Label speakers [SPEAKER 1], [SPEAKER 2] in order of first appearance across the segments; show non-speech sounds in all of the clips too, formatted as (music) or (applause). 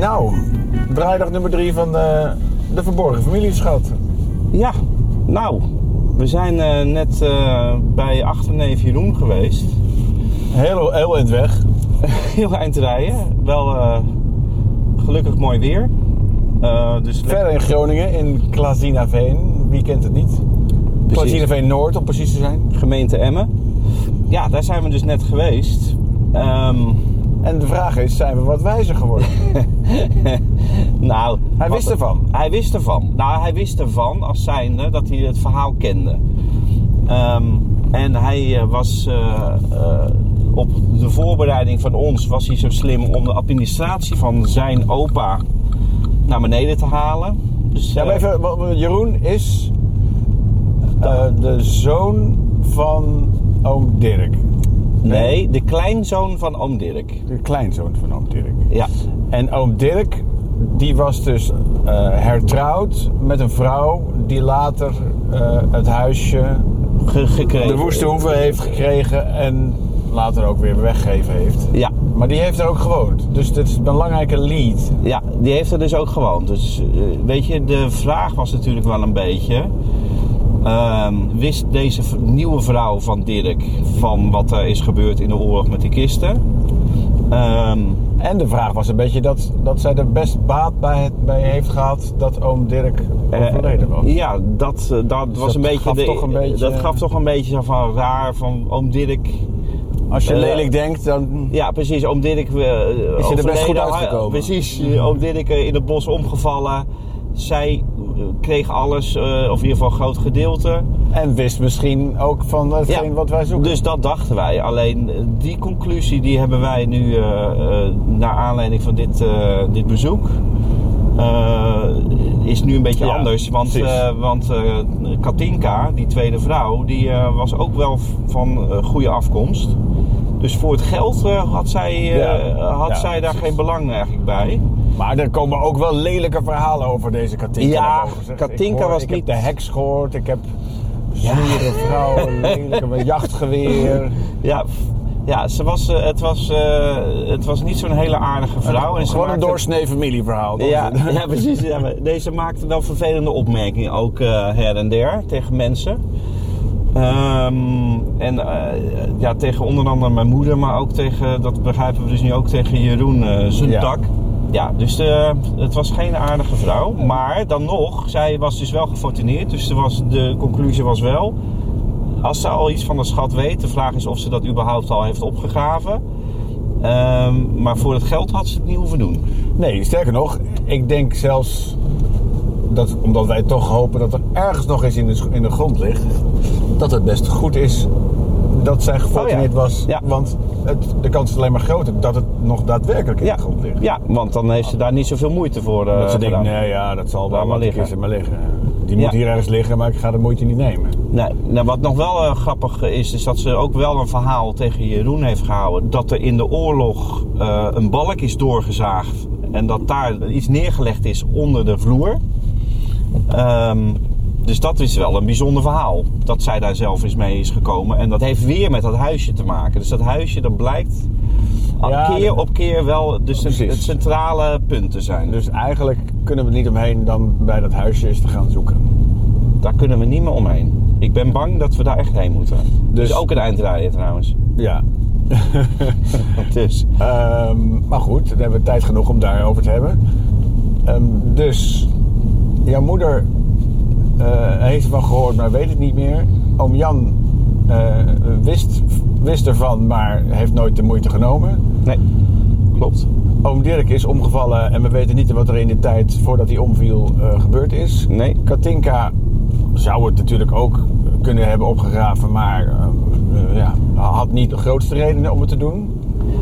[SPEAKER 1] Nou, draaidag nummer 3 van eh, de verborgen familieschat.
[SPEAKER 2] Ja, nou, we zijn eh, net eh, bij achterneef Jeroen geweest. (laughs)
[SPEAKER 1] Heel, heel eind weg.
[SPEAKER 2] Heel eind rijden. Wel eh, gelukkig mooi weer. Eh, dus lekker-
[SPEAKER 1] Verder in Groningen, in Klazinaveen. Wie kent het niet?
[SPEAKER 2] Precies.
[SPEAKER 1] Klazinaveen Noord, om precies te zijn.
[SPEAKER 2] gemeente Emmen. Ja, daar zijn we dus net geweest. Ehm,
[SPEAKER 1] En de vraag is, zijn we wat wijzer (laughs) geworden?
[SPEAKER 2] nou,
[SPEAKER 1] Hij
[SPEAKER 2] wat-
[SPEAKER 1] wist ervan.
[SPEAKER 2] Hij wist ervan. Nou, hij wist ervan als zijnde dat hij het verhaal kende. Ehm, en hij eh, was eh, eh, op de voorbereiding van ons was hij zo slim om de administratie van zijn opa naar beneden te halen. Dus,
[SPEAKER 1] Ja,
[SPEAKER 2] eh,
[SPEAKER 1] maar even, wa- wa- Jeroen is eh, de zoon van oom Dirk.
[SPEAKER 2] Nee, de kleinzoon van oom Dirk.
[SPEAKER 1] De kleinzoon van oom Dirk.
[SPEAKER 2] Ja,
[SPEAKER 1] En oom Dirk, die was dus eh, hertrouwd met een vrouw die later eh, het huisje
[SPEAKER 2] ge- gekregen.
[SPEAKER 1] de Woeste Hoeve heeft gekregen en later ook weer weggegeven heeft.
[SPEAKER 2] Ja,
[SPEAKER 1] Maar die heeft er ook gewoond. Dus dit is een belangrijke lead.
[SPEAKER 2] Ja, die heeft er dus ook gewoond. Dus eh, weet je, de vraag was natuurlijk wel een beetje. ehm, wist deze v- nieuwe vrouw van Dirk van wat er is gebeurd in de oorlog met de kisten? Ehm,
[SPEAKER 1] En de vraag was een beetje dat, dat zij er best baat bij, het- bij heeft gehad dat oom Dirk
[SPEAKER 2] eh,
[SPEAKER 1] overleden was.
[SPEAKER 2] ja, dat, eh, dat was
[SPEAKER 1] Dus dat
[SPEAKER 2] een, beetje
[SPEAKER 1] gaf
[SPEAKER 2] de-
[SPEAKER 1] toch een beetje-
[SPEAKER 2] Dat gaf toch een beetje zo van raar van oom Dirk.
[SPEAKER 1] Als je
[SPEAKER 2] eh,
[SPEAKER 1] lelijk denkt, dan...
[SPEAKER 2] Ja, precies. Oom Dirk. eh,
[SPEAKER 1] best
[SPEAKER 2] overleden.
[SPEAKER 1] goed
[SPEAKER 2] Ah,
[SPEAKER 1] uitgekomen. Mhm.
[SPEAKER 2] Precies. eh, Oom Dirk eh, in het bos omgevallen. Zij eh, kreeg alles, eh, of in ieder geval een groot gedeelte.
[SPEAKER 1] En wist misschien ook van hetgeen
[SPEAKER 2] Ja.
[SPEAKER 1] wat wij zoeken.
[SPEAKER 2] Dus dat dachten wij. Alleen eh, die conclusie die hebben wij nu eh, eh, naar aanleiding van dit, eh, dit bezoek. eh, is nu een beetje
[SPEAKER 1] Ja,
[SPEAKER 2] anders. Want,
[SPEAKER 1] precies.
[SPEAKER 2] eh, want eh, Katinka, die tweede vrouw, die eh, was ook wel v- van eh, goede afkomst. Dus voor het geld eh, had zij, eh,
[SPEAKER 1] Ja,
[SPEAKER 2] had
[SPEAKER 1] ja,
[SPEAKER 2] zij daar
[SPEAKER 1] precies.
[SPEAKER 2] geen belang eigenlijk bij.
[SPEAKER 1] Maar er komen ook wel lelijke verhalen over deze Katinka.
[SPEAKER 2] Ja,
[SPEAKER 1] naar boven, zeg.
[SPEAKER 2] Katinka
[SPEAKER 1] Ik hoor-
[SPEAKER 2] was
[SPEAKER 1] ik
[SPEAKER 2] niet-
[SPEAKER 1] heb de heks gehoord, ik heb zure
[SPEAKER 2] (laughs)
[SPEAKER 1] vrouwen, lelijke met jachtgeweer.
[SPEAKER 2] Ja, f- ja ze was, eh, het, was, eh, het was niet zo'n hele aardige vrouw. en ze
[SPEAKER 1] Gewoon een
[SPEAKER 2] maakte-
[SPEAKER 1] doorsnee familieverhaal. dat
[SPEAKER 2] Ja,
[SPEAKER 1] is het.
[SPEAKER 2] (laughs) ja, precies. Ja, maar deze maakte wel vervelende opmerkingen ook eh, her en der tegen mensen. Ehm, en eh, ja, tegen onder andere mijn moeder, maar ook tegen, dat begrijpen we dus nu ook tegen Jeroen eh, zijn
[SPEAKER 1] Ja.
[SPEAKER 2] tak. Ja, dus eh, het was geen aardige vrouw. Maar dan nog, zij was dus wel gefortuneerd. Dus ze was, de conclusie was wel, als ze al iets van de schat weet, de vraag is of ze dat überhaupt al heeft opgegraven. Ehm, maar voor het geld had ze het niet hoeven doen.
[SPEAKER 1] Nee, sterker nog, ik denk zelfs dat omdat wij toch hopen dat er ergens nog eens in de, sch- in de grond ligt, dat het best goed is dat zij gefortuneerd
[SPEAKER 2] Oh ja.
[SPEAKER 1] was.
[SPEAKER 2] Ja.
[SPEAKER 1] Want het, de kans is alleen maar groter dat het nog daadwerkelijk in de grond ligt.
[SPEAKER 2] Ja, want dan heeft ze daar niet zoveel moeite voor. eh,
[SPEAKER 1] Dat ze denken,
[SPEAKER 2] gedaan.
[SPEAKER 1] nee, ja, dat zal
[SPEAKER 2] Laat
[SPEAKER 1] wel
[SPEAKER 2] maar
[SPEAKER 1] wat
[SPEAKER 2] liggen.
[SPEAKER 1] liggen. maar liggen. Die
[SPEAKER 2] Ja.
[SPEAKER 1] moet hier ergens liggen, maar ik ga de moeite niet nemen.
[SPEAKER 2] Nee. Nou, wat nog wel eh, grappig is, is dat ze ook wel een verhaal tegen Jeroen heeft gehouden. Dat er in de oorlog eh, een balk is doorgezaagd. En dat daar iets neergelegd is onder de vloer. Ehm, dus dat is wel een bijzonder verhaal. Dat zij daar zelf eens mee is gekomen. En dat heeft weer met dat huisje te maken. Dus dat huisje, dat blijkt al
[SPEAKER 1] Ja,
[SPEAKER 2] keer
[SPEAKER 1] dat-
[SPEAKER 2] op keer wel dus het,
[SPEAKER 1] Precies.
[SPEAKER 2] het centrale punt te zijn. Dus
[SPEAKER 1] Dus eigenlijk kunnen we er niet omheen dan bij dat huisje eens te gaan zoeken.
[SPEAKER 2] daar kunnen we niet meer omheen. Ik ben bang dat we daar echt heen moeten. Dus,
[SPEAKER 1] Dus-
[SPEAKER 2] ook een eindrijden trouwens.
[SPEAKER 1] Ja.
[SPEAKER 2] Dus.
[SPEAKER 1] Ehm, maar goed, dan hebben we tijd genoeg om daarover te hebben. Ehm, dus, jouw moeder eh, heeft ervan gehoord, maar weet het niet meer. Oom Jan eh, wist, wist ervan, maar heeft nooit de moeite genomen.
[SPEAKER 2] Nee. Klopt.
[SPEAKER 1] Oom Dirk is omgevallen en we weten niet wat er in de tijd voordat hij omviel eh, gebeurd is.
[SPEAKER 2] Nee.
[SPEAKER 1] Katinka zou het natuurlijk ook kunnen hebben opgegraven, maar eh, eh, ja, had niet de grootste redenen om het te doen.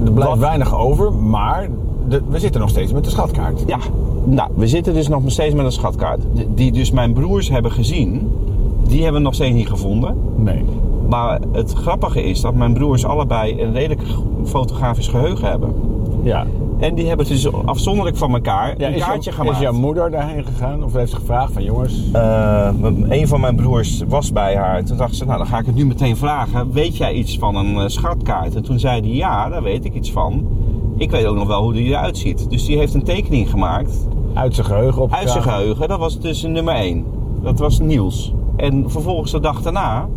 [SPEAKER 1] Er blijft
[SPEAKER 2] Wat?
[SPEAKER 1] weinig over, maar de- we zitten nog steeds met de schatkaart.
[SPEAKER 2] Ja. Nou, we zitten dus nog steeds met een schatkaart. Die- Die dus mijn broers hebben gezien. Die hebben we nog steeds niet gevonden.
[SPEAKER 1] Nee.
[SPEAKER 2] Maar het grappige is dat mijn broers allebei een redelijk fotografisch geheugen hebben.
[SPEAKER 1] Ja.
[SPEAKER 2] En die hebben dus afzonderlijk van elkaar een
[SPEAKER 1] is,
[SPEAKER 2] kaartje
[SPEAKER 1] jouw,
[SPEAKER 2] gemaakt.
[SPEAKER 1] is jouw moeder daarheen gegaan of heeft ze gevraagd van jongens?
[SPEAKER 2] Eh, een van mijn broers was bij haar. Toen dacht ze, nou dan ga ik het nu meteen vragen. Weet jij iets van een eh, schatkaart? En toen zei hij, ja, daar weet ik iets van. Ik weet ook nog wel hoe die eruit ziet. Dus die heeft een tekening gemaakt
[SPEAKER 1] Uit zijn geheugen op.
[SPEAKER 2] uit zijn geheugen. Dat was dus nummer 1. Dat was Niels. En vervolgens de dag daarna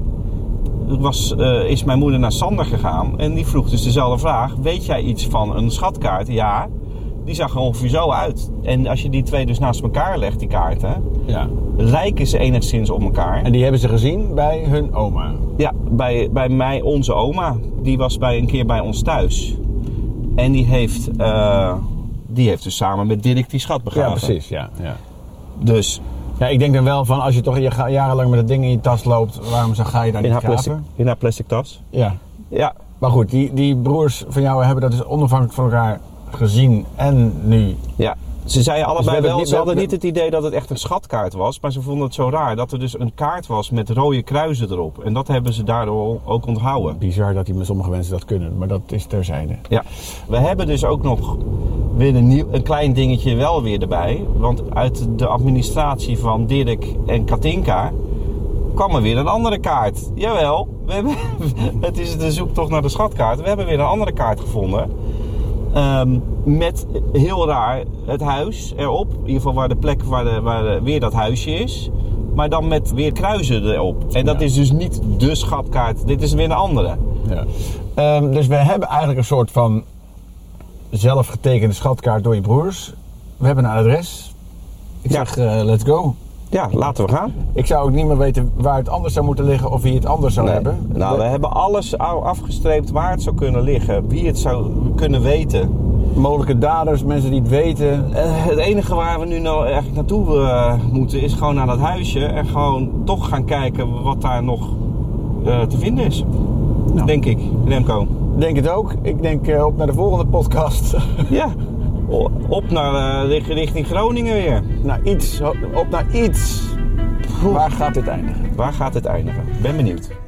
[SPEAKER 2] was, eh, is mijn moeder naar Sander gegaan. En die vroeg dus dezelfde vraag. Weet jij iets van een schatkaart? Ja. Die zag er ongeveer zo uit. En als je die twee dus naast elkaar legt, die kaarten,
[SPEAKER 1] Ja.
[SPEAKER 2] lijken ze enigszins op elkaar.
[SPEAKER 1] En die hebben ze gezien bij hun oma.
[SPEAKER 2] Ja, bij, bij mij, onze oma. Die was bij, een keer bij ons thuis. En die heeft, eh, die heeft dus samen met Dirk die schat begraven.
[SPEAKER 1] Ja, precies. Ja, ja.
[SPEAKER 2] Dus
[SPEAKER 1] ja, ik denk dan wel van als je toch je ga- jarenlang met dat ding in je tas loopt, waarom zou ga je daar
[SPEAKER 2] in
[SPEAKER 1] niet
[SPEAKER 2] haar, plastic,
[SPEAKER 1] graven?
[SPEAKER 2] in haar plastic tas.
[SPEAKER 1] Ja.
[SPEAKER 2] Ja,
[SPEAKER 1] Maar goed, die, die broers van jou hebben dat dus onafhankelijk van elkaar gezien en nu.
[SPEAKER 2] ja. Ze zeiden allebei
[SPEAKER 1] hebben
[SPEAKER 2] wel,
[SPEAKER 1] niet-
[SPEAKER 2] ze hadden
[SPEAKER 1] we-
[SPEAKER 2] niet Dus het idee dat het echt een schatkaart was. Maar ze vonden het zo raar dat er dus een kaart was met rode kruisen erop. En dat hebben ze daardoor ook onthouden.
[SPEAKER 1] Bizar dat die met sommige mensen dat kunnen, maar dat is terzijde.
[SPEAKER 2] Ja, we hebben dus ook nog weer een, nieuw, een klein dingetje wel weer erbij. Want uit de administratie van Dirk en Katinka kwam er weer een andere kaart. Jawel, we hebben, (laughs) het is de zoektocht naar de schatkaart. We hebben weer een andere kaart gevonden. Ehm, met heel raar het huis erop. In ieder geval waar de plek waar, de, waar de- weer dat huisje is. Maar dan met weer kruisen erop. En dat
[SPEAKER 1] Ja.
[SPEAKER 2] is dus niet de schatkaart. Dit is weer een andere.
[SPEAKER 1] Ja. Ehm, dus we hebben eigenlijk een soort van zelfgetekende schatkaart door je broers. We hebben een adres. Ik
[SPEAKER 2] Ja.
[SPEAKER 1] zeg, eh, let's go.
[SPEAKER 2] Ja, laten we gaan.
[SPEAKER 1] Ik zou ook niet meer weten waar het anders zou moeten liggen of wie het anders zou
[SPEAKER 2] Nee.
[SPEAKER 1] hebben.
[SPEAKER 2] Nou, we hebben alles au- afgestreept waar het zou kunnen liggen, wie het zou kunnen weten.
[SPEAKER 1] Mogelijke daders, mensen die het weten.
[SPEAKER 2] Eh, het enige waar we nu nou eigenlijk naartoe eh, moeten is gewoon naar dat huisje en gewoon toch gaan kijken wat daar nog eh, te vinden is.
[SPEAKER 1] Nou.
[SPEAKER 2] Denk ik, Remco.
[SPEAKER 1] (laughs) Denk het ook. Ik denk eh, op naar de volgende podcast. (laughs)
[SPEAKER 2] Ja, O- op naar eh, richt- richting Groningen weer.
[SPEAKER 1] naar iets. Op naar iets. Waar gaat dit eindigen?
[SPEAKER 2] Waar gaat het eindigen? Ben benieuwd.